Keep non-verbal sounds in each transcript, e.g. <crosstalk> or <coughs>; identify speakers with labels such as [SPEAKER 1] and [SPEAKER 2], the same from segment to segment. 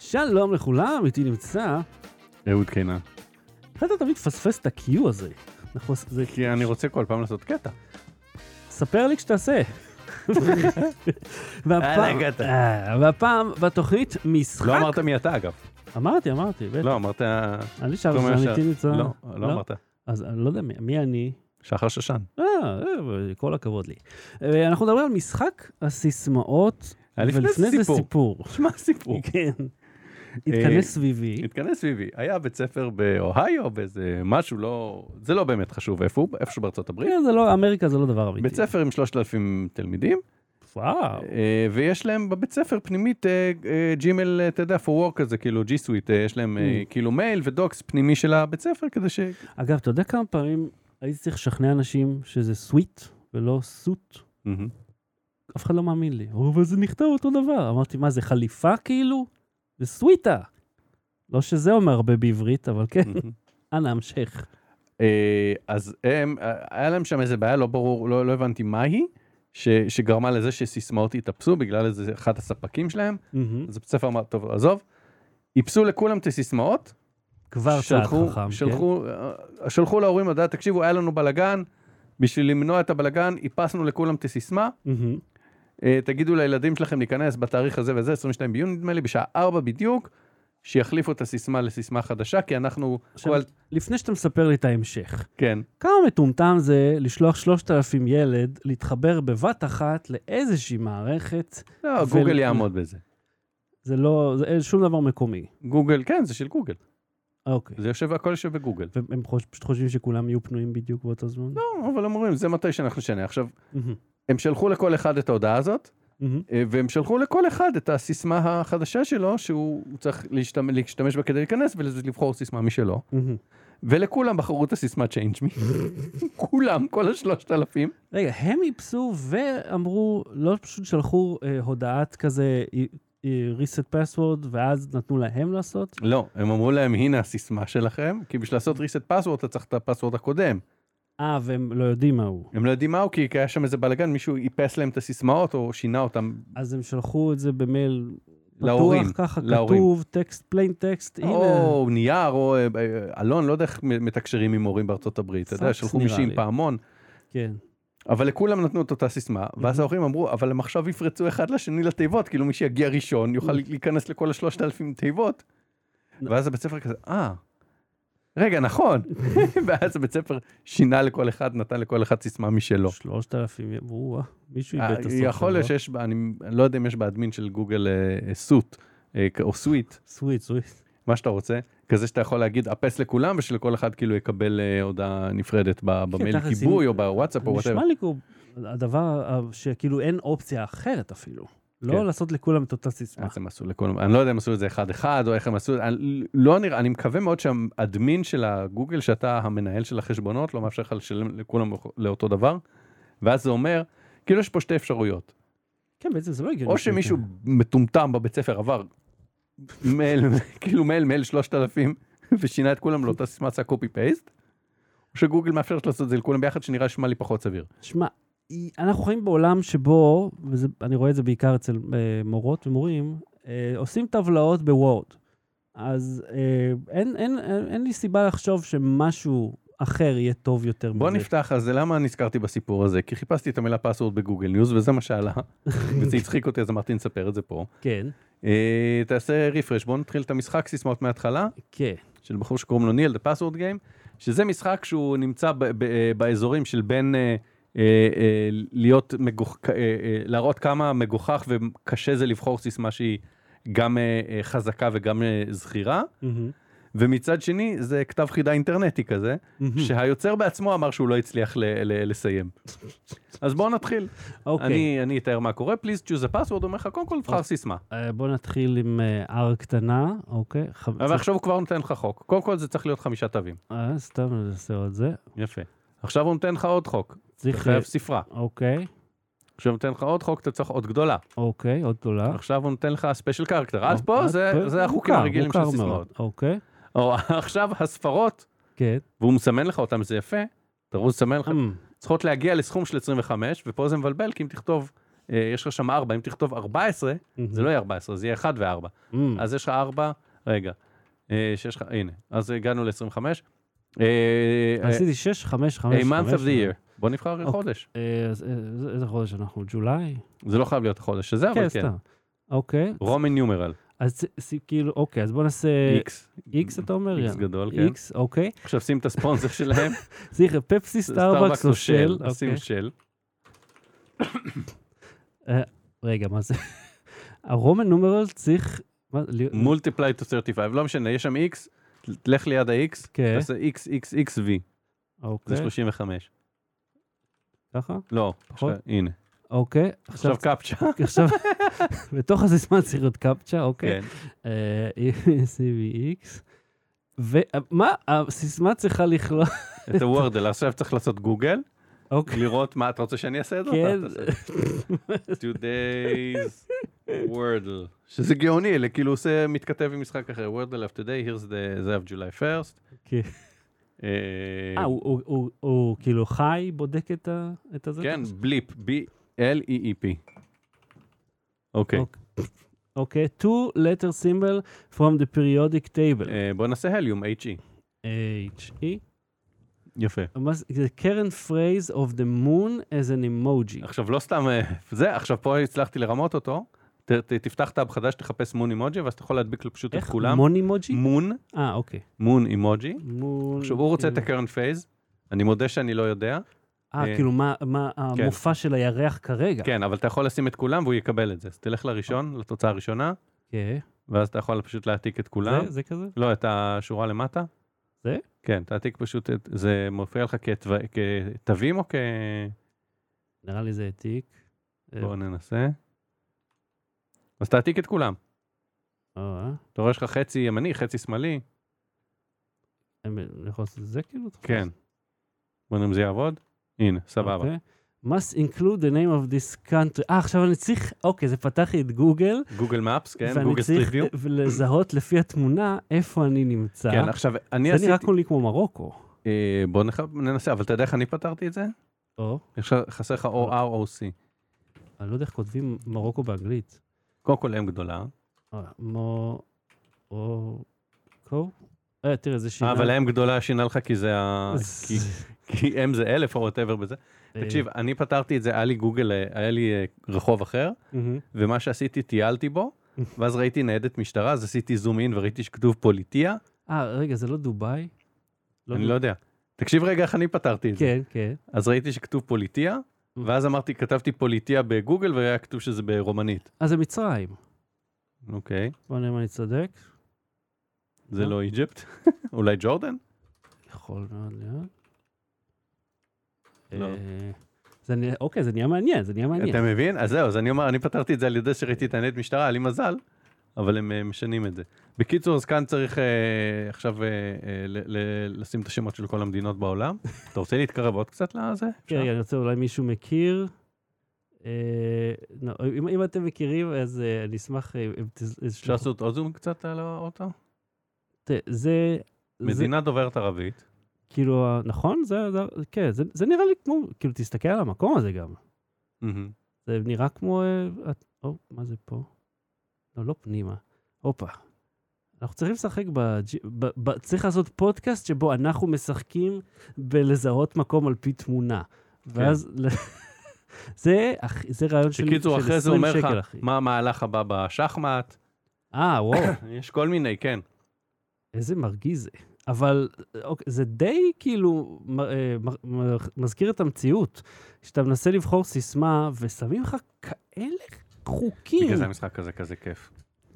[SPEAKER 1] שלום לכולם, איתי נמצא.
[SPEAKER 2] אהוד קינן.
[SPEAKER 1] אתה תמיד מפספס את ה-Q הזה. אנחנו- זה-
[SPEAKER 2] כי אני רוצה כל פעם לעשות קטע.
[SPEAKER 1] ספר לי
[SPEAKER 2] <laughs>
[SPEAKER 1] כשתעשה. והפעם-
[SPEAKER 2] יאללה, הגעת.
[SPEAKER 1] אה, והפעם בתוכנית משחק.
[SPEAKER 2] לא אמרת מי אתה אגב.
[SPEAKER 1] אמרתי, אמרתי, בטח.
[SPEAKER 2] לא אמרת...
[SPEAKER 1] אני שם,
[SPEAKER 2] כלומר,
[SPEAKER 1] אני
[SPEAKER 2] ש-
[SPEAKER 1] איתי נמצא.
[SPEAKER 2] לא, לא אמרת.
[SPEAKER 1] אז אני לא יודע מי- מי אני.
[SPEAKER 2] שחר שושן. <laughs>
[SPEAKER 1] אה, אה, כל הכבוד לי. אה, אנחנו מדברים על משחק הסיסמאות,
[SPEAKER 2] היה לפני
[SPEAKER 1] ולפני זה
[SPEAKER 2] סיפור.
[SPEAKER 1] סיפור.
[SPEAKER 2] שמע סיפור. אה,
[SPEAKER 1] כן. התכנס סביבי.
[SPEAKER 2] התכנס סביבי. היה בית ספר באוהיו, באיזה משהו לא... זה לא באמת חשוב איפה הוא, איפשהו בארצות הברית.
[SPEAKER 1] כן, זה לא, אמריקה זה לא דבר אמיתי.
[SPEAKER 2] בית ספר עם 3,000 תלמידים,
[SPEAKER 1] וואו.
[SPEAKER 2] אה, ויש להם בבית ספר פנימית אה, אה, ג'ימל, אה, אתה יודע, for work כזה, כאילו ג'י סוויט, יש להם אה, כאילו מייל ודוקס פנימי של הבית ספר, כדי ש...
[SPEAKER 1] אגב, אתה יודע כמה פעמים הייתי צריך לשכנע אנשים שזה סוויט ולא סוט?
[SPEAKER 2] מהמם.
[SPEAKER 1] אף אחד לא מאמין לי. אמרו, אבל זה נכתב אותו דבר. אמרתי, מה, זה חליפה כאילו? זה סוויטה. לא שזה אומר הרבה בעברית, אבל כן.
[SPEAKER 2] <laughs> מהמם.
[SPEAKER 1] אנא, המשך.
[SPEAKER 2] אה, אז הם, היה להם שם איזה בעיה, לא ברור, לא, לא הבנתי מה היא, ש, שגרמה לזה שסיסמאות התאפסו בגלל איזה אחד הספקים שלהם,
[SPEAKER 1] מהמם.
[SPEAKER 2] אז הבית ספר אמר, טוב, עזוב, איפסו לכולם את הסיסמאות,
[SPEAKER 1] כבר צעד
[SPEAKER 2] שלחו,
[SPEAKER 1] חכם. כן?
[SPEAKER 2] שלחו, אה, שלחו להורים הודעה, תקשיבו, היה לנו בלאגן, בשביל למנוע את הבלאגן, איפסנו לכולם את הסיסמה,
[SPEAKER 1] מהמם.
[SPEAKER 2] אה, תגידו לילדים שלכם להיכנס בתאריך הזה וזה, 22 ביוני נדמה לי, בשעה 4 בדיוק, שיחליפו את הסיסמה לסיסמה חדשה, כי אנחנו,
[SPEAKER 1] עכשיו,
[SPEAKER 2] כל-
[SPEAKER 1] לפני שאתה מספר לי את ההמשך,
[SPEAKER 2] כן,
[SPEAKER 1] כמה מטומטם זה לשלוח 3,000 ילד להתחבר בבת אחת לאיזושהי מערכת,
[SPEAKER 2] לא,
[SPEAKER 1] ול-
[SPEAKER 2] גוגל יעמוד בזה.
[SPEAKER 1] זה לא, זה אין שום דבר מקומי.
[SPEAKER 2] גוגל, כן, זה של גוגל.
[SPEAKER 1] אוקיי.
[SPEAKER 2] זה יושב, הכל יושב בגוגל.
[SPEAKER 1] והם חוש- פשוט חושבים שכולם יהיו פנויים בדיוק באותו זמן? לא.
[SPEAKER 2] לא, אבל הם אומרים, זה מתי שאנחנו נשנה. עכשיו, הם שלחו לכל אחד את ההודעה הזאת, אה, והם שלחו לכל אחד את הסיסמה החדשה שלו, שהוא צריך להשתמש, להשתמש בה כדי להיכנס ולבחור סיסמה משלו. ולכולם בחרו את הסיסמה Change me. <laughs> כולם, כל השלושת אלפים.
[SPEAKER 1] רגע, הם איפסו ואמרו, לא פשוט שלחו אה, הודעת כזה אה, אה, reset password, ואז נתנו להם לעשות?
[SPEAKER 2] לא, הם אמרו להם, הנה הסיסמה שלכם, כי בשביל לעשות reset password אתה צריך את הפסוורד הקודם.
[SPEAKER 1] אה, והם לא יודעים מה הוא.
[SPEAKER 2] הם לא יודעים מהו, כי היה שם איזה בלאגן, מישהו איפס להם את הסיסמאות או שינה אותם
[SPEAKER 1] אז הם שלחו את זה במייל
[SPEAKER 2] להורים,
[SPEAKER 1] פתוח, ככה
[SPEAKER 2] להורים.
[SPEAKER 1] כתוב, טקסט, פליין טקסט, הנה.
[SPEAKER 2] או נייר, או אה, אה, אלון, לא יודע איך מ- מתקשרים עם הורים בארצות הברית, אתה יודע,
[SPEAKER 1] פקס
[SPEAKER 2] שלחו
[SPEAKER 1] נראה
[SPEAKER 2] מישהי עם
[SPEAKER 1] לי.
[SPEAKER 2] פעמון,
[SPEAKER 1] כן.
[SPEAKER 2] אבל לכולם נתנו את אותה סיסמה,
[SPEAKER 1] Mhm.
[SPEAKER 2] ואז ההורים אמרו, אבל הם עכשיו יפרצו אחד לשני לתיבות, כאילו מי שיגיע ראשון יוכל להיכנס לכל השלושת אלפים תיבות.
[SPEAKER 1] Mhm. נ-
[SPEAKER 2] ואז הבית ספר כזה, אה, רגע,
[SPEAKER 1] <laughs>
[SPEAKER 2] נכון. ואז הבית ספר שינה לכל אחד, נתן לכל אחד סיסמה משלו.
[SPEAKER 1] 3,000, וואו, מישהו איבד את הסוף שלו.
[SPEAKER 2] לא. אה, יכול להיות שיש, בה- אני אני לא יודע אם יש באדמין של גוגל אה, אה, סוט, אה, או סוויט,
[SPEAKER 1] סוויט, סוויט.
[SPEAKER 2] מה שאתה רוצה, כזה שאתה יכול להגיד אפס לכולם ושלכל אחד כאילו יקבל אה, הודעה נפרדת ב- במייל
[SPEAKER 1] כן, תכלס,
[SPEAKER 2] כיבוי
[SPEAKER 1] אם-
[SPEAKER 2] או בוואטסאפ או
[SPEAKER 1] נשמע
[SPEAKER 2] וואטאבר.
[SPEAKER 1] לי כמו הדבר ה- שכאילו אין אופציה אחרת אפילו. לא
[SPEAKER 2] כן.
[SPEAKER 1] לעשות לכולם את אותה סיסמה.
[SPEAKER 2] אז הם עשו לכולם, אני לא יודע אם עשו את זה אחד אחד או איך הם עשו, אני לא נראה, אני מקווה מאוד שהאדמין של הגוגל שאתה המנהל של החשבונות לא מאפשר לך לשלם לכולם לאותו דבר, ואז זה אומר, כאילו יש פה שתי אפשרויות,
[SPEAKER 1] כן, בעצם זה לא הגיוני.
[SPEAKER 2] או שמישהו מטומטם בבית ספר עבר מייל, <laughs> כאילו מייל מייל 3000 ושינה את כולם לאותה סיסמה עשה קופי פייסט, או שגוגל מאפשרת לעשות את זה לכולם ביחד שנראה שמע לי פחות סביר.
[SPEAKER 1] שמע, היא- אנחנו חיים בעולם שבו, ואני רואה את זה בעיקר אצל אה, מורות ומורים, אה, עושים טבלאות בוורד. אז אה, אין- אין- אין אין לי סיבה לחשוב שמשהו אחר יהיה טוב יותר
[SPEAKER 2] בוא נפתח אז למה נזכרתי בסיפור הזה כי חיפשתי את המילה פסוורד בגוגל ניוז וזה מה שעלה וזה הצחיק אותי אז אמרתי נספר את זה פה.
[SPEAKER 1] כן,
[SPEAKER 2] אה, תעשה רפרש בוא נתחיל את המשחק סיסמאות מההתחלה
[SPEAKER 1] כן.
[SPEAKER 2] של בחור שקוראים לו ניל the password game שזה משחק שהוא נמצא ב- ב- אה, באזורים של בין אה, אה, אה, להיות מגוח... אה, אה, להראות כמה מגוחך וקשה זה לבחור סיסמה שהיא גם אה, אה, חזקה וגם אה, זכירה
[SPEAKER 1] מהמם,
[SPEAKER 2] ומצד שני זה כתב חידה אינטרנטי כזה.
[SPEAKER 1] מהמם.
[SPEAKER 2] שהיוצר בעצמו אמר שהוא לא הצליח ל- ל- לסיים. אז בואו נתחיל.
[SPEAKER 1] אוקיי,
[SPEAKER 2] אני, אני אתאר מה קורה, please choose a password, אומר לך, קודם כל תבחר
[SPEAKER 1] אוקיי.
[SPEAKER 2] סיסמה.
[SPEAKER 1] אה, בוא נתחיל עם אה, R קטנה, אוקיי. חמ-
[SPEAKER 2] אבל עכשיו הוא כבר נותן לך חוק. קודם כל זה צריך להיות חמישה תווים.
[SPEAKER 1] אה, סתם אני אעשה עוד זה.
[SPEAKER 2] יפה. עכשיו הוא נותן לך עוד חוק, אתה
[SPEAKER 1] צריך...
[SPEAKER 2] חייב ספרה.
[SPEAKER 1] אוקיי,
[SPEAKER 2] עכשיו הוא נותן לך עוד חוק, אתה צריך עוד גדולה.
[SPEAKER 1] אוקיי, עוד גדולה.
[SPEAKER 2] עכשיו הוא נותן לך ספיישל קרקטר. עד
[SPEAKER 1] אוקיי,
[SPEAKER 2] פה זה-
[SPEAKER 1] פה-
[SPEAKER 2] זה החוקים
[SPEAKER 1] מוכר,
[SPEAKER 2] הרגילים של
[SPEAKER 1] מוכר
[SPEAKER 2] סיסמאות.
[SPEAKER 1] מאוד. אוקיי,
[SPEAKER 2] או <laughs> עכשיו הספרות,
[SPEAKER 1] כן. והוא
[SPEAKER 2] והוא מסמן לך אותם, זה יפה. תראו, הוא מסמן לך, צריכות להגיע לסכום של 25, ופה זה מבלבל, כי אם תכתוב אה, יש לך שם 4, אם תכתוב 14, זה לא יהיה 14, זה יהיה 1 ו-4.
[SPEAKER 1] Mm.
[SPEAKER 2] אז יש לך 4, רגע, אה, שיש לך, הנה, אז הגענו ל-25.
[SPEAKER 1] עשיתי 6, 5, 5,
[SPEAKER 2] אה, A אה, month of the year. בוא נבחר
[SPEAKER 1] אוקיי.
[SPEAKER 2] חודש.
[SPEAKER 1] איזה חודש אנחנו? ג'ולי?
[SPEAKER 2] זה לא חייב להיות החודש הזה, אבל כן.
[SPEAKER 1] סתם. אוקיי.
[SPEAKER 2] רומן ניומרל,
[SPEAKER 1] אז זה- זה כאילו, אוקיי, אז בוא נעשה...
[SPEAKER 2] איקס.
[SPEAKER 1] איקס אתה אומר?
[SPEAKER 2] איקס
[SPEAKER 1] יאללה.
[SPEAKER 2] גדול, כן.
[SPEAKER 1] איקס, אוקיי.
[SPEAKER 2] עכשיו שים
[SPEAKER 1] <laughs>
[SPEAKER 2] את הספונסר שלהם.
[SPEAKER 1] צריך פפסי, סטארבקס או של.
[SPEAKER 2] אז שים
[SPEAKER 1] אוקיי.
[SPEAKER 2] של.
[SPEAKER 1] רגע, מה זה? <laughs> הרומן נומרל צריך... מה, להיות-
[SPEAKER 2] מולטיפליי טו 35, לא משנה, יש שם איקס, תלך ליד ה-X,
[SPEAKER 1] כן.
[SPEAKER 2] תעשה איקס, איקס, איקס וי, זה
[SPEAKER 1] אוקיי,
[SPEAKER 2] 35.
[SPEAKER 1] ככה?
[SPEAKER 2] לא,
[SPEAKER 1] פחות?
[SPEAKER 2] עכשיו- הנה.
[SPEAKER 1] אוקיי.
[SPEAKER 2] עכשיו קפצ'ה.
[SPEAKER 1] עכשיו, <laughs> בתוך הזמן צריך להיות קפצ'ה, אוקיי.
[SPEAKER 2] כן.
[SPEAKER 1] אה, <laughs> CVX. ומה, אה, הסיסמה צריכה לכלול,
[SPEAKER 2] את הוורדל, עכשיו צריך לעשות גוגל,
[SPEAKER 1] <laughs> אוקיי,
[SPEAKER 2] לראות מה אתה רוצה שאני אעשה את זה?
[SPEAKER 1] כן,
[SPEAKER 2] אתה תעשה את זה. Today's Wordle. שזה גאוני, אלה כאילו עושה, מתכתב עם משחק אחר. Wordle of today, here's the, זה of July 1st.
[SPEAKER 1] כן.
[SPEAKER 2] אה,
[SPEAKER 1] אה, הוא- הוא- הוא- הוא כאילו חי, בודק את ה- את הזה?
[SPEAKER 2] כן, בליפ, B-L-E-E-P. אוקיי,
[SPEAKER 1] אוקיי. אוקיי, two letter symbol from the periodic table,
[SPEAKER 2] אה, בוא נעשה הליום, H-E. אה.
[SPEAKER 1] H-E.
[SPEAKER 2] יפה.
[SPEAKER 1] מה זה זה current phrase of the moon as an emoji.
[SPEAKER 2] עכשיו לא סתם אה, זה, עכשיו פה הצלחתי לרמות אותו. ת- ת- תפתח טאב חדש, תחפש מון אימוג'י, ואז אתה יכול להדביק לו פשוט את
[SPEAKER 1] איך?
[SPEAKER 2] כולם.
[SPEAKER 1] מון אימוג'י?
[SPEAKER 2] מון,
[SPEAKER 1] אה, אוקיי.
[SPEAKER 2] מון אימוג'י.
[SPEAKER 1] מון...
[SPEAKER 2] עכשיו, הוא רוצה את
[SPEAKER 1] כאילו-
[SPEAKER 2] הקרן פייז, אני מודה שאני לא יודע.
[SPEAKER 1] אה,
[SPEAKER 2] אה,
[SPEAKER 1] כאילו מה- מה
[SPEAKER 2] כן.
[SPEAKER 1] המופע של הירח כרגע.
[SPEAKER 2] כן, אבל אתה יכול לשים את כולם והוא יקבל את זה. אז תלך לראשון, לתוצאה הראשונה,
[SPEAKER 1] כן.
[SPEAKER 2] ואז אתה יכול פשוט להעתיק את כולם.
[SPEAKER 1] זה, זה כזה?
[SPEAKER 2] לא, את השורה למטה.
[SPEAKER 1] זה?
[SPEAKER 2] כן, תעתיק פשוט את... זה מופיע לך כתו- כתווים או כ...
[SPEAKER 1] נראה לי זה העתיק. אה,
[SPEAKER 2] בואו ננסה. אז תעתיק את כולם.
[SPEAKER 1] אה,
[SPEAKER 2] אתה רואה, יש לך חצי ימני, חצי שמאלי.
[SPEAKER 1] אה, אני יכול לעשות את זה כאילו? אתה יכול
[SPEAKER 2] כן.
[SPEAKER 1] לעשות-
[SPEAKER 2] בוא נראה אם זה יעבוד. הנה, סבבה.
[SPEAKER 1] אוקיי. must include the name of this country. אה, עכשיו אני צריך, אוקיי, זה פתח לי את גוגל,
[SPEAKER 2] גוגל מפס, כן?
[SPEAKER 1] ואני
[SPEAKER 2] גוגל סטריט
[SPEAKER 1] צריך
[SPEAKER 2] ויו.
[SPEAKER 1] ל- לזהות לפי התמונה איפה אני נמצא.
[SPEAKER 2] כן, עכשיו, אני
[SPEAKER 1] זה נראה
[SPEAKER 2] עשיתי...
[SPEAKER 1] כולי כמו מרוקו.
[SPEAKER 2] אה, בוא נח- ננסה, אבל אתה יודע איך אני פתרתי את זה?
[SPEAKER 1] או,
[SPEAKER 2] יש לך- חסר לך או R או C.
[SPEAKER 1] אני לא יודע איך כותבים מרוקו באנגלית.
[SPEAKER 2] קודם כל M גדולה,
[SPEAKER 1] אה, מורוקו? אה, תראה, זה
[SPEAKER 2] אה,
[SPEAKER 1] שינה.
[SPEAKER 2] אבל M גדולה שינה לך כי זה ה...
[SPEAKER 1] אז-
[SPEAKER 2] כי- כי M זה אלף או וואטאבר בזה.
[SPEAKER 1] אה,
[SPEAKER 2] תקשיב, אני פתרתי את זה, היה לי גוגל, אה, היה לי אה, רחוב אחר,
[SPEAKER 1] מהמם.
[SPEAKER 2] ומה שעשיתי, טיילתי
[SPEAKER 1] <laughs>
[SPEAKER 2] בו, ואז ראיתי ניידת משטרה, אז עשיתי זום אין וראיתי שכתוב פוליטיה,
[SPEAKER 1] אה, רגע, זה לא דובאי?
[SPEAKER 2] אני לא יודע. תקשיב רגע איך אני פתרתי את זה.
[SPEAKER 1] כן, Mm. כן.
[SPEAKER 2] אז ראיתי שכתוב פוליטיה, ואז אמרתי, כתבתי פוליטיה בגוגל, והיה כתוב שזה ברומנית.
[SPEAKER 1] אה, זה מצרים.
[SPEAKER 2] אוקיי,
[SPEAKER 1] בוא נראה אם אני צודק.
[SPEAKER 2] זה
[SPEAKER 1] אה.
[SPEAKER 2] לא איג'פט? <laughs> אולי ג'ורדן?
[SPEAKER 1] יכול מאוד להיות.
[SPEAKER 2] לא.
[SPEAKER 1] אה, זה נהיה- אוקיי, זה נהיה מעניין, זה נהיה מעניין.
[SPEAKER 2] אתה מבין? אז זהו, אז אני אומר, אני פתרתי את זה על ידי שראיתי את הניידת משטרה, היה לי מזל, אבל הם אה, משנים את זה. בקיצור, אז כאן צריך אה, עכשיו אה, אה, ל- ל- לשים את השמות של כל המדינות
[SPEAKER 1] <laughs>
[SPEAKER 2] בעולם. אתה רוצה להתקרב עוד קצת לזה?
[SPEAKER 1] כן, רגע, אני רוצה אולי מישהו מכיר. אה, לא, אם- אם אתם מכירים, אז אה, אני אשמח... אה, אם תז-
[SPEAKER 2] אפשר
[SPEAKER 1] תשלחו-
[SPEAKER 2] לעשות עוד זום קצת על האוטו?
[SPEAKER 1] תראה, זה... זה
[SPEAKER 2] מדינה דוברת ערבית.
[SPEAKER 1] כאילו, ה- נכון? זה, זה- כן, זה- זה נראה לי כמו, כאילו, תסתכל על המקום הזה גם.
[SPEAKER 2] מהמם.
[SPEAKER 1] זה נראה כמו... אה, את- או, מה זה פה? לא, לא פנימה. הופה. אנחנו צריכים לשחק בג'... ב... ב... צריך לעשות פודקאסט שבו אנחנו משחקים בלזהות מקום על פי תמונה.
[SPEAKER 2] כן.
[SPEAKER 1] ואז... <laughs> ל- זה, אח- זה רעיון של,
[SPEAKER 2] בקיצור,
[SPEAKER 1] של
[SPEAKER 2] אחרי זה
[SPEAKER 1] 20
[SPEAKER 2] אומר
[SPEAKER 1] שקל,
[SPEAKER 2] לך,
[SPEAKER 1] אחי.
[SPEAKER 2] מה המהלך הבא בשחמט?
[SPEAKER 1] אה, וואו,
[SPEAKER 2] יש כל מיני, כן.
[SPEAKER 1] איזה מרגיז זה. אבל אוקיי, זה די כאילו מ- אה, מ- מ- מזכיר את המציאות. כשאתה מנסה לבחור סיסמה ושמים לך כאלה חוקים.
[SPEAKER 2] בגלל זה המשחק הזה כזה כיף.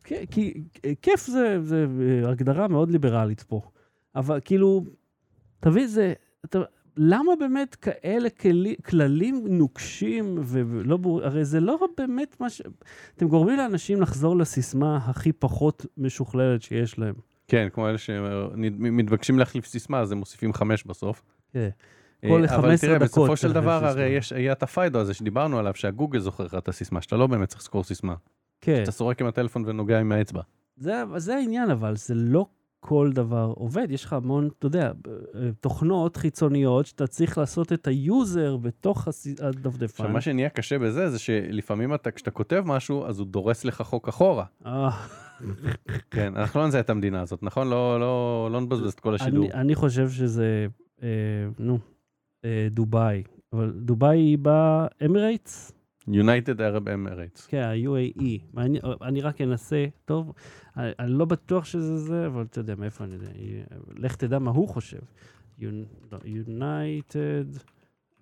[SPEAKER 1] כן, כי כי- כיף זה, זה אה, הגדרה מאוד ליברלית פה. אבל כאילו, תביא, זה... אתה, למה באמת כאלה כלי, כללים נוקשים ו- ולא ברור? הרי זה לא באמת מה ש... אתם גורמים לאנשים לחזור לסיסמה הכי פחות משוכללת שיש להם.
[SPEAKER 2] כן, כמו אלה שמתבקשים להחליף סיסמה, אז הם מוסיפים חמש בסוף.
[SPEAKER 1] כן.
[SPEAKER 2] אה,
[SPEAKER 1] כל
[SPEAKER 2] אבל
[SPEAKER 1] 15
[SPEAKER 2] תראה,
[SPEAKER 1] דקות
[SPEAKER 2] בסופו של
[SPEAKER 1] צריך
[SPEAKER 2] דבר,
[SPEAKER 1] סיסמה.
[SPEAKER 2] הרי יש, היה את הפיידו הזה שדיברנו עליו, שהגוגל זוכר לך את הסיסמה, שאתה לא באמת צריך לזכור סיסמה.
[SPEAKER 1] כן. נכון.
[SPEAKER 2] אתה סורק עם הטלפון ונוגע עם האצבע.
[SPEAKER 1] זה, זה העניין, אבל זה לא כל דבר עובד. יש לך המון, אתה יודע, אה, תוכנות חיצוניות שאתה צריך לעשות את היוזר בתוך הס-
[SPEAKER 2] עכשיו,
[SPEAKER 1] הדפדפן.
[SPEAKER 2] מה שנהיה קשה בזה, זה שלפעמים אתה, כשאתה כותב משהו, אז הוא דורס לך חוק אחורה.
[SPEAKER 1] אה,
[SPEAKER 2] כן, אנחנו לא נזהה את המדינה הזאת, נכון? לא, לא, לא נבזבז את כל השידור.
[SPEAKER 1] אני, אני חושב שזה, אה, נו, אה, דובאי. אבל דובאי היא באמירייטס?
[SPEAKER 2] United Arab Emirates.
[SPEAKER 1] כן, ה-UAE. מעניין- אני רק אנסה, טוב, אני אני לא בטוח שזה זה, אבל אתה יודע מאיפה אני יודע. אה, לך תדע מה הוא חושב. יונייטד,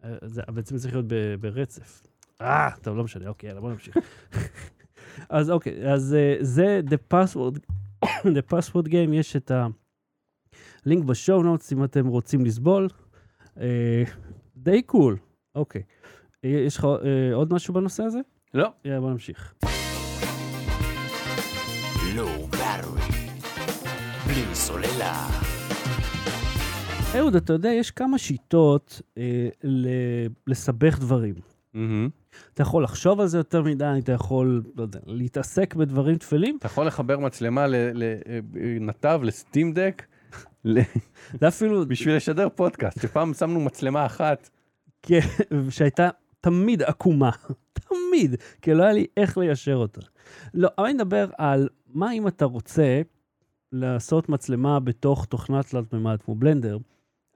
[SPEAKER 1] אה, זה בעצם צריך להיות ב- ברצף. אה, טוב, לא משנה, אוקיי, יאללה, בוא נמשיך. <laughs> אז אוקיי, אז אה, זה The Password, <coughs> The Password Game, יש את הלינק בשואו נוטס, אם אתם רוצים לסבול. אה, די קול, אוקיי. אה, יש לך אה, עוד משהו בנושא הזה?
[SPEAKER 2] לא,
[SPEAKER 1] יאללה, בוא נמשיך.
[SPEAKER 3] Low battery. לא בלי סוללה.
[SPEAKER 1] אהוד, אתה יודע, יש כמה שיטות אה, ל- לסבך דברים.
[SPEAKER 2] מהמם.
[SPEAKER 1] אתה יכול לחשוב על זה יותר מדי, אתה יכול, לא יודע, להתעסק בדברים טפלים.
[SPEAKER 2] אתה יכול לחבר מצלמה לנתב, אה, לסטים דק, ל-
[SPEAKER 1] זה אפילו,
[SPEAKER 2] בשביל לשדר פודקאסט, שפעם שמנו מצלמה אחת.
[SPEAKER 1] שהייתה תמיד עקומה. <laughs> תמיד. כי לא היה לי איך ליישר אותה. לא, אבל אני מדבר על מה אם אתה רוצה לעשות מצלמה בתוך תוכנה תלת מימד כמו בלנדר,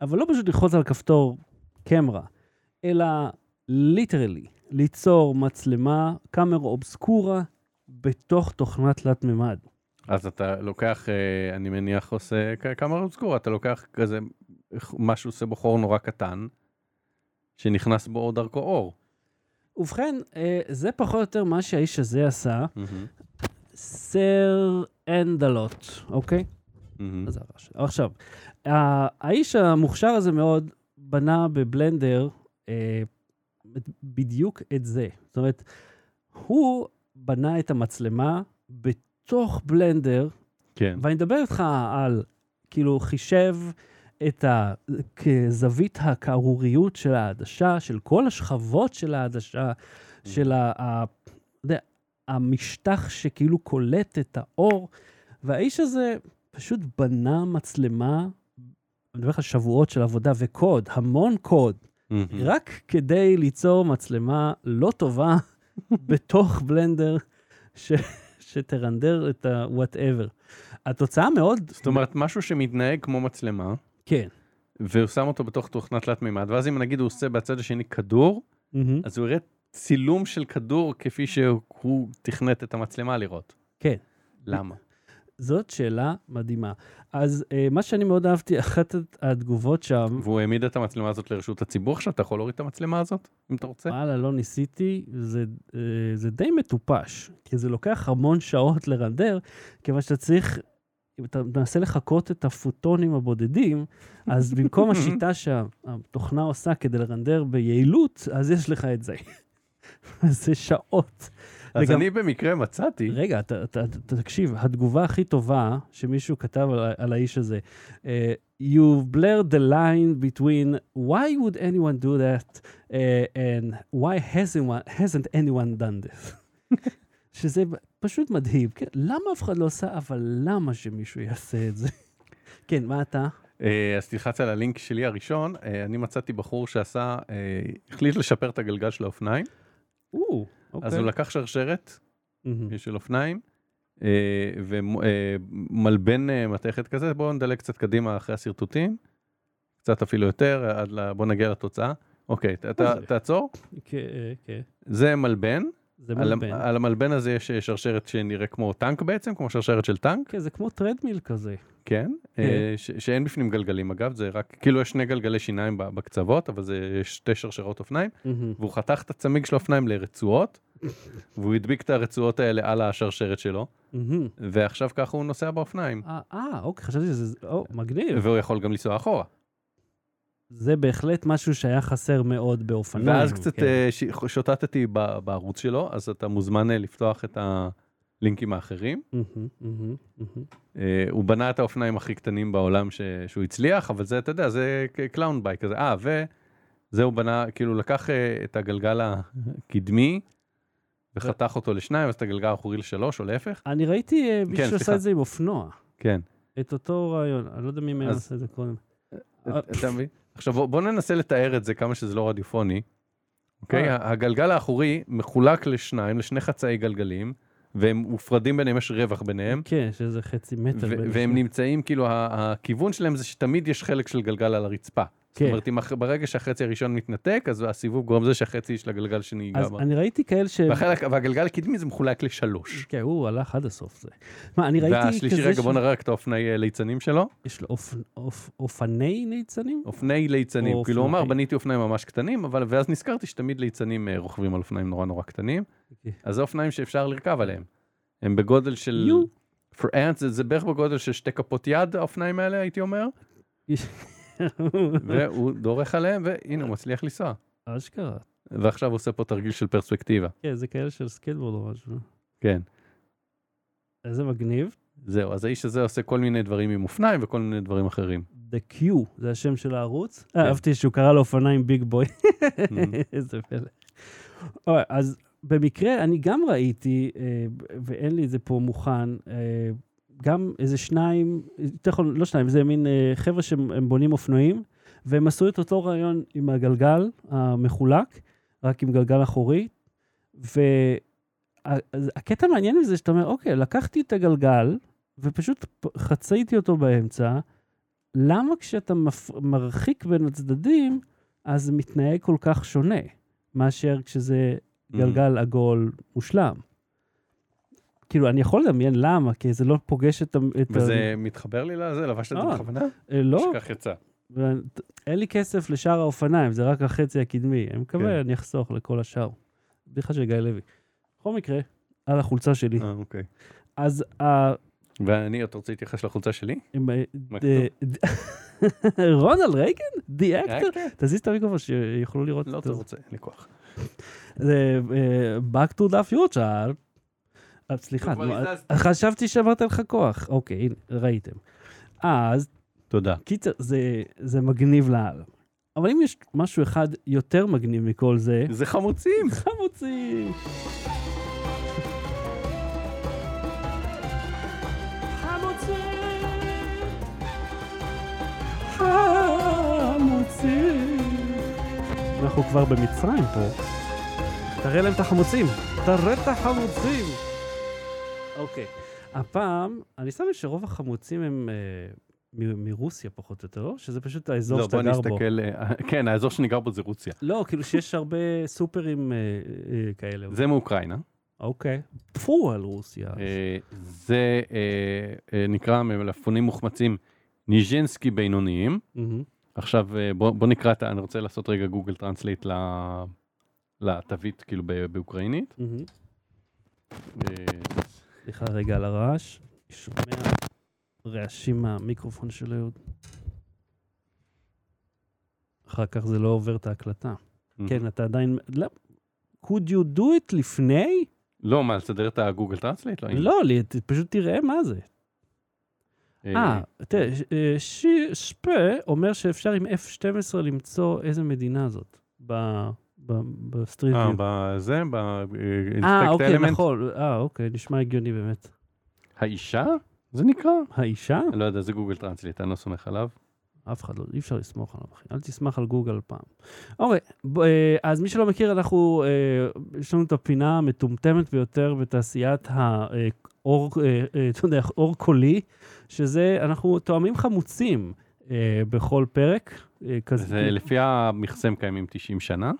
[SPEAKER 1] אבל לא פשוט ללחוץ על כפתור קמרה, אלא ליטרלי ליצור מצלמה, קאמרה אובסקורה, בתוך תוכנה תלת מימד.
[SPEAKER 2] אז אתה לוקח, אה, אני מניח, עושה כמה אובסקורה, אתה לוקח כזה איך- משהו עושה בו חור נורא קטן, שנכנס בו דרכו אור.
[SPEAKER 1] ובכן, אה, זה פחות או יותר מה שהאיש הזה עשה, סר אנדלוט, אוקיי?
[SPEAKER 2] מהמם.
[SPEAKER 1] מה זה הרעש? עכשיו, ה- האיש המוכשר הזה מאוד בנה בבלנדר אה, את- בדיוק את זה. זאת אומרת, הוא בנה את המצלמה בתוך בלנדר,
[SPEAKER 2] כן.
[SPEAKER 1] ואני מדבר איתך על, כאילו, חישב את ה- כזווית הכערוריות של העדשה, של כל השכבות של העדשה, של ה... ה- אתה יודע, המשטח שכאילו קולט את האור, והאיש הזה פשוט בנה מצלמה, אני מדבר לך על שבועות של עבודה וקוד, המון קוד,
[SPEAKER 2] מהמם.
[SPEAKER 1] Mm-hmm. רק כדי ליצור מצלמה לא טובה <laughs> בתוך בלנדר ש... שתרנדר את ה-whatever. התוצאה מאוד...
[SPEAKER 2] זאת אומרת, משהו שמתנהג כמו מצלמה,
[SPEAKER 1] כן.
[SPEAKER 2] והוא שם אותו בתוך תוכנה תלת מימד, ואז אם נגיד הוא עושה בצד השני כדור,
[SPEAKER 1] מהמם.
[SPEAKER 2] אז הוא יראה צילום של כדור כפי שהוא תכנת את המצלמה לראות.
[SPEAKER 1] כן.
[SPEAKER 2] למה?
[SPEAKER 1] זאת שאלה מדהימה. אז אה, מה שאני מאוד אהבתי, אחת התגובות שם,
[SPEAKER 2] והוא העמיד את המצלמה הזאת לרשות הציבור עכשיו, אתה יכול להוריד את המצלמה הזאת, אם אתה רוצה?
[SPEAKER 1] וואלה, לא ניסיתי, זה, אה, זה די מטופש, כי זה לוקח המון שעות לרנדר, כיוון שאתה צריך, אם אתה מנסה לחקות את הפוטונים הבודדים, אז במקום השיטה שהתוכנה עושה כדי לרנדר ביעילות, אז יש לך את זה. <laughs> זה שעות.
[SPEAKER 2] אז
[SPEAKER 1] וגם-
[SPEAKER 2] אני במקרה מצאתי,
[SPEAKER 1] רגע, ת, ת, ת, תקשיב, התגובה הכי טובה שמישהו כתב על, ה- על האיש הזה, אה, You've blurred the line between why would anyone do that אה, and why hasn't, one- hasn't anyone done this. <laughs> שזה פשוט מדהים, כן? למה אף אחד לא עושה, אבל למה שמישהו יעשה את זה? <laughs> כן, מה אתה?
[SPEAKER 2] אה, אז תלחץ על הלינק שלי הראשון, אה, אני מצאתי בחור שעשה, אה, החליט לשפר את הגלגל של האופניים,
[SPEAKER 1] או, אוקיי.
[SPEAKER 2] אז הוא לקח שרשרת
[SPEAKER 1] מהמם.
[SPEAKER 2] של אופניים, אה, ומלבן אה, מתכת כזה, בואו נדלג קצת קדימה אחרי השרטוטים, קצת אפילו יותר, עד ל... בואו נגיע לתוצאה. אוקיי, ת- ת-
[SPEAKER 1] זה?
[SPEAKER 2] תעצור.
[SPEAKER 1] כן, אה, כן.
[SPEAKER 2] זה מלבן,
[SPEAKER 1] זה
[SPEAKER 2] על ה-
[SPEAKER 1] מלבן.
[SPEAKER 2] על המלבן הזה יש אה, שרשרת שנראה כמו טנק בעצם, כמו שרשרת של טנק,
[SPEAKER 1] כן, זה כמו טרדמיל כזה.
[SPEAKER 2] כן, אה,
[SPEAKER 1] כן.
[SPEAKER 2] ש- שאין בפנים גלגלים אגב, זה רק, כאילו יש שני גלגלי שיניים ב- בקצוות, אבל זה שתי שרשרות אופניים,
[SPEAKER 1] מהמם.
[SPEAKER 2] והוא חתך את הצמיג של האופניים <laughs> לרצועות, והוא הדביק את הרצועות האלה על השרשרת שלו,
[SPEAKER 1] מהמם.
[SPEAKER 2] ועכשיו ככה הוא נוסע באופניים.
[SPEAKER 1] אה, אה, אוקיי, חשבתי שזה... או, מגניב.
[SPEAKER 2] והוא יכול גם לנסוע אחורה.
[SPEAKER 1] זה בהחלט משהו שהיה חסר מאוד באופניים.
[SPEAKER 2] ואז קצת
[SPEAKER 1] כן.
[SPEAKER 2] אה, ש- שוטטתי ב- בערוץ שלו, אז אתה מוזמן אה, לפתוח את הלינקים האחרים.
[SPEAKER 1] מהמם, מהמם, מהמם.
[SPEAKER 2] אה, הוא בנה את האופניים הכי קטנים בעולם ש- שהוא הצליח, אבל זה, אתה יודע, זה ק- קלאון בייק כזה. אה, וזה הוא בנה, כאילו לקח אה, את הגלגל הקדמי וחתך אותו לשניים, אז את הגלגל האחורי לשלוש או להפך.
[SPEAKER 1] אני ראיתי אה, מישהו שעשה
[SPEAKER 2] כן, סליחה.
[SPEAKER 1] את זה עם אופנוע.
[SPEAKER 2] כן.
[SPEAKER 1] את אותו רעיון, אני לא יודע מי מהם
[SPEAKER 2] אז-
[SPEAKER 1] עשה את זה קודם. אה.
[SPEAKER 2] אתה מבין? עכשיו בוא- בוא ננסה לתאר את זה כמה שזה לא רדיופוני. אוקיי?
[SPEAKER 1] אה.
[SPEAKER 2] הגלגל האחורי מחולק לשניים, לשני חצאי גלגלים, והם מופרדים ביניהם, יש רווח ביניהם,
[SPEAKER 1] כן, שזה חצי מטר.
[SPEAKER 2] ו-
[SPEAKER 1] בין
[SPEAKER 2] והם
[SPEAKER 1] השניים.
[SPEAKER 2] נמצאים, כאילו, ה- הכיוון שלהם זה שתמיד יש חלק של גלגל על הרצפה. זאת
[SPEAKER 1] כן.
[SPEAKER 2] אומרת, אם הח- ברגע שהחצי הראשון מתנתק, אז הסיבוב גורם לזה שהחצי של הגלגל השני ייגע
[SPEAKER 1] אז
[SPEAKER 2] בו.
[SPEAKER 1] אני ראיתי כאלה ש...
[SPEAKER 2] והחלק- והגלגל הקדמי זה מחולק לשלוש.
[SPEAKER 1] כן, הוא הלך עד הסוף זה. מה, אני ראיתי
[SPEAKER 2] והשלישי,
[SPEAKER 1] כזה
[SPEAKER 2] רגע, בוא נראה רק את האופני אה, ליצנים שלו.
[SPEAKER 1] שיש לו אופ- אופ- אופני ניצנים?
[SPEAKER 2] אופני ליצנים.
[SPEAKER 1] או
[SPEAKER 2] כאילו, הוא אמר,
[SPEAKER 1] אופניים.
[SPEAKER 2] בניתי אופניים ממש קטנים, אבל, ואז נזכרתי שתמיד ליצנים אה, רוכבים על אופניים נורא נורא קטנים.
[SPEAKER 1] אוקיי.
[SPEAKER 2] אז זה אופניים שאפשר לרכב עליהם. הם בגודל של...
[SPEAKER 1] יו.
[SPEAKER 2] for ants, זה- זה בערך בגודל של שתי כפות יד, האופניים האלה, הייתי אומר.
[SPEAKER 1] אה.
[SPEAKER 2] והוא דורך עליהם, והנה, הוא מצליח לנסוע.
[SPEAKER 1] <laughs> אשכרה.
[SPEAKER 2] ועכשיו הוא עושה פה תרגיל של פרספקטיבה.
[SPEAKER 1] כן, זה כאלה של סקייטבורד או משהו.
[SPEAKER 2] כן.
[SPEAKER 1] איזה מגניב.
[SPEAKER 2] זהו, אז האיש הזה עושה כל מיני דברים עם אופניים וכל מיני דברים אחרים.
[SPEAKER 1] The Q, זה השם של הערוץ. אה, אהבתי שהוא קרא לאופניים ביג בוי. <laughs> איזה פלא. אוי, אז במקרה, אני גם ראיתי, אה, ואין לי את זה פה מוכן, אה, גם איזה שניים, אתה יכול, לא שניים, זה מין אה, חבר'ה שהם הם בונים אופנועים, והם עשו את אותו רעיון עם הגלגל המחולק, רק עם גלגל אחורי, והקטע המעניין מזה שאתה אומר, אוקיי, לקחתי את הגלגל, ופשוט פ- חציתי אותו באמצע, למה כשאתה מפ... מרחיק בין הצדדים, אז זה מתנהג כל כך שונה, מאשר כשזה
[SPEAKER 2] Mm.
[SPEAKER 1] גלגל עגול מושלם. כאילו, אני יכול לדמיין למה, כי זה לא פוגש את ה... את ה-
[SPEAKER 2] Mm. וזה מתחבר לי לזה? לבשת את זה
[SPEAKER 1] אה.
[SPEAKER 2] בכוונה?
[SPEAKER 1] אה, לא,
[SPEAKER 2] שכך יצא.
[SPEAKER 1] ואני- אין לי כסף לשאר האופניים, זה רק החצי הקדמי. אני
[SPEAKER 2] כן.
[SPEAKER 1] מקווה, אני אחסוך לכל השאר. בדיחה של גיא לוי. בכל מקרה, על החולצה שלי.
[SPEAKER 2] אה, אוקיי.
[SPEAKER 1] אז ה- אוקיי.
[SPEAKER 2] ואני, אתה רוצה להתייחס לחולצה שלי?
[SPEAKER 1] הם, אה,
[SPEAKER 2] מה
[SPEAKER 1] ד- ד- <laughs> רונלד רייגן? די אקטר? תזיז את המיקרופון שיוכלו לראות
[SPEAKER 2] אה, כן. לא
[SPEAKER 1] את זה.
[SPEAKER 2] רוצה, אין לי כוח.
[SPEAKER 1] זה אה, Back to the Future. אה, סליחה,
[SPEAKER 2] כבר
[SPEAKER 1] נו,
[SPEAKER 2] הזזתי.
[SPEAKER 1] אה, חשבתי שאמרת לך כוח. אוקיי, הנה, ראיתם. אז
[SPEAKER 2] תודה.
[SPEAKER 1] קיצר, זה- זה מגניב לאללה. אבל אם יש משהו אחד יותר מגניב מכל זה,
[SPEAKER 2] זה
[SPEAKER 1] <laughs>
[SPEAKER 2] חמוצים!
[SPEAKER 1] חמוצים. חמוצים. אנחנו כבר במצרים פה. תראה להם את החמוצים. תראה את החמוצים. אוקיי. הפעם, אני שם לב שרוב החמוצים הם אה, מ- מרוסיה פחות או יותר, לא? שזה פשוט האזור
[SPEAKER 2] לא,
[SPEAKER 1] שאתה
[SPEAKER 2] בוא
[SPEAKER 1] גר בו.
[SPEAKER 2] נסתכל, אה, כן, האזור שאני גר בו זה רוסיה.
[SPEAKER 1] לא, כאילו שיש הרבה סופרים אה, אה, כאלה.
[SPEAKER 2] זה מאוקראינה.
[SPEAKER 1] אוקיי. פו על רוסיה.
[SPEAKER 2] אה, זה אה, אה, נקרא מלפפונים מוחמצים ניז'נסקי בינוניים.
[SPEAKER 1] מהמם.
[SPEAKER 2] עכשיו אה, בוא בוא נקרא את ה... אני רוצה לעשות רגע גוגל טרנסלייט ל- לתווית, כאילו, ב- באוקראינית.
[SPEAKER 1] מהמם.
[SPEAKER 2] אה,
[SPEAKER 1] סליחה רגע על הרעש. אני שומע רעשים מהמיקרופון של אהוד. אחר כך זה לא עובר את ההקלטה. כן, אתה עדיין... לא. could you do it לפני?
[SPEAKER 2] לא, מה, לסדר את הגוגל טרנסלייט? לא. הנה.
[SPEAKER 1] לא, לי- ת- פשוט תראה מה זה. אה, תראה, ש- אה, שיר שפה אומר שאפשר עם F12 למצוא איזה מדינה זאת. ב- ב- בסטריט
[SPEAKER 2] אה,
[SPEAKER 1] ויו.
[SPEAKER 2] בזה,
[SPEAKER 1] אה,
[SPEAKER 2] באינספקט
[SPEAKER 1] אוקיי,
[SPEAKER 2] אלמנט.
[SPEAKER 1] נכון. אה, אוקיי, נשמע הגיוני באמת.
[SPEAKER 2] האישה? זה נקרא?
[SPEAKER 1] האישה?
[SPEAKER 2] לא יודע, זה גוגל טרנסלייט, אני לא סומך עליו.
[SPEAKER 1] אף אחד לא, אי אפשר לסמוך עליו, אחי. אל תסמך על גוגל פעם. אוקיי, ב- אה, אז מי שלא מכיר, אנחנו, אה, יש לנו את הפינה המטומטמת ביותר בתעשיית אה, האור, אה, אתה יודע, אור קולי, שזה, אנחנו תואמים חמוצים אה, בכל פרק. אה, כזה,
[SPEAKER 2] זה לפי המכסה הם קיימים 90 שנה.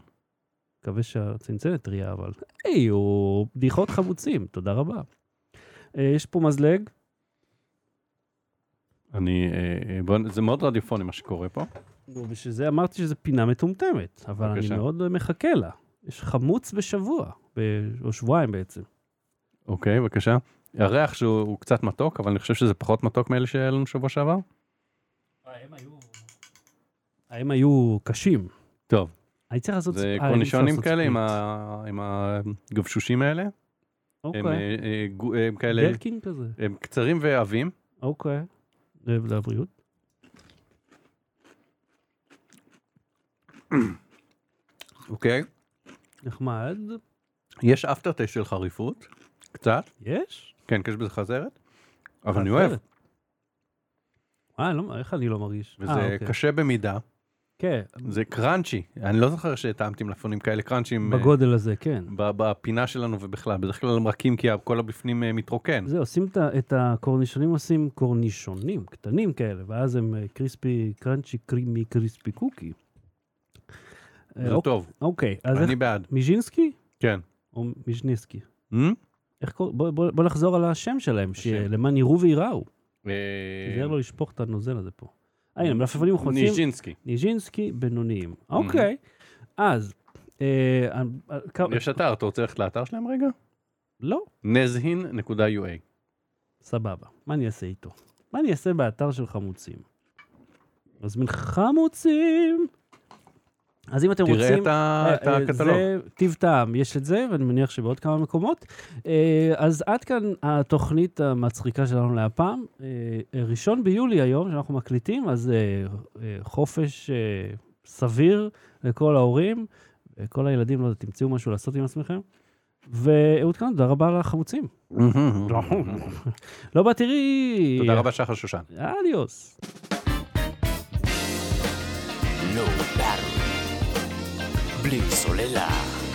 [SPEAKER 1] מקווה שהצנצנת טריה, אבל... היי, הוא בדיחות חמוצים, תודה רבה. אה, יש פה מזלג,
[SPEAKER 2] אני, אה, אה, בוא נ- זה מאוד רדיופוני מה שקורה פה.
[SPEAKER 1] נו, בשביל זה אמרתי שזו פינה מטומטמת, אבל
[SPEAKER 2] בבקשה.
[SPEAKER 1] אני מאוד מחכה לה. יש חמוץ בשבוע, ב- או שבועיים בעצם.
[SPEAKER 2] אוקיי, בבקשה. הריח שהוא הוא קצת מתוק, אבל אני חושב שזה פחות מתוק מאלה שהיה לנו שבוע שעבר.
[SPEAKER 1] אה, הם היו... הם היו קשים.
[SPEAKER 2] טוב.
[SPEAKER 1] אני צריך לעשות...
[SPEAKER 2] זה
[SPEAKER 1] אה, אני
[SPEAKER 2] קורנישונים
[SPEAKER 1] צריך
[SPEAKER 2] כאלה עם
[SPEAKER 1] לעשות ספליט.
[SPEAKER 2] ה- עם הגבשושים האלה. הם,
[SPEAKER 1] אוקיי.
[SPEAKER 2] אה, אה, גו- הם כאלה,
[SPEAKER 1] גלקין כזה.
[SPEAKER 2] הם קצרים ועבים.
[SPEAKER 1] אוקיי. זה לבריאות.
[SPEAKER 2] אוקיי.
[SPEAKER 1] נחמד.
[SPEAKER 2] יש אפטרטש של חריפות, קצת.
[SPEAKER 1] יש?
[SPEAKER 2] כן, כי יש בזה חזרת. אבל אני
[SPEAKER 1] אחרת.
[SPEAKER 2] אוהב.
[SPEAKER 1] אה, לא- איך אני לא מרגיש? אה,
[SPEAKER 2] וזה
[SPEAKER 1] אוקיי.
[SPEAKER 2] קשה במידה,
[SPEAKER 1] כן,
[SPEAKER 2] זה קראנצ'י. אני לא זוכר שהטעמתי מלפונים כאלה קראנצ'ים אה,
[SPEAKER 1] בגודל הזה, כן.
[SPEAKER 2] ב- בפינה שלנו ובכלל. בדרך כלל הם רכים כי כל הבפנים אה, מתרוקן.
[SPEAKER 1] זה, עושים את ה- את הקורנישונים, עושים קורנישונים קטנים כאלה, ואז הם אה, קריספי קראנצ'י קרימי קריספי קוקי. אה,
[SPEAKER 2] זה
[SPEAKER 1] אוק-
[SPEAKER 2] טוב,
[SPEAKER 1] אוקיי, אז איך...
[SPEAKER 2] אני בעד.
[SPEAKER 1] מיז'ינסקי?
[SPEAKER 2] כן.
[SPEAKER 1] או מיז'ניסקי?
[SPEAKER 2] אה?
[SPEAKER 1] איך קוראים? בוא, בוא, בוא נחזור על השם שלהם, שיהיה למען יראו וייראו.
[SPEAKER 2] כן. אה,
[SPEAKER 1] תיזהר לא לשפוך את הנוזל הזה פה. אה, הנה, מלפפונים וחוצים,
[SPEAKER 2] ניז'ינסקי.
[SPEAKER 1] ניז'ינסקי בינוניים. אוקיי, אז... אה, אה, אה, כמה-
[SPEAKER 2] יש אתר, אתה רוצה ללכת לאתר שלהם רגע?
[SPEAKER 1] לא,
[SPEAKER 2] נזהין.ua.
[SPEAKER 1] סבבה. מה אני אעשה איתו? מה אני אעשה באתר של חמוצים? מזמין חמוצים! אז אם אתם
[SPEAKER 2] תראה
[SPEAKER 1] רוצים...
[SPEAKER 2] את ה- את
[SPEAKER 1] אה, אה,
[SPEAKER 2] הקטלוג.
[SPEAKER 1] זה טיב טעם, יש את זה, ואני מניח שבעוד כמה מקומות. אה, אז עד כאן התוכנית המצחיקה שלנו להפעם. אה, אה, ראשון ביולי היום, שאנחנו מקליטים, אז אה, אה, חופש אה, סביר לכל ההורים, אה, כל הילדים, לא יודע, תמצאו משהו לעשות עם עצמכם. ואהוד כאן, תודה רבה לחמוצים. לא בתראי.
[SPEAKER 2] תודה רבה, שחר שושן.
[SPEAKER 1] אדיוס.
[SPEAKER 3] Low Battery. בלי סוללה.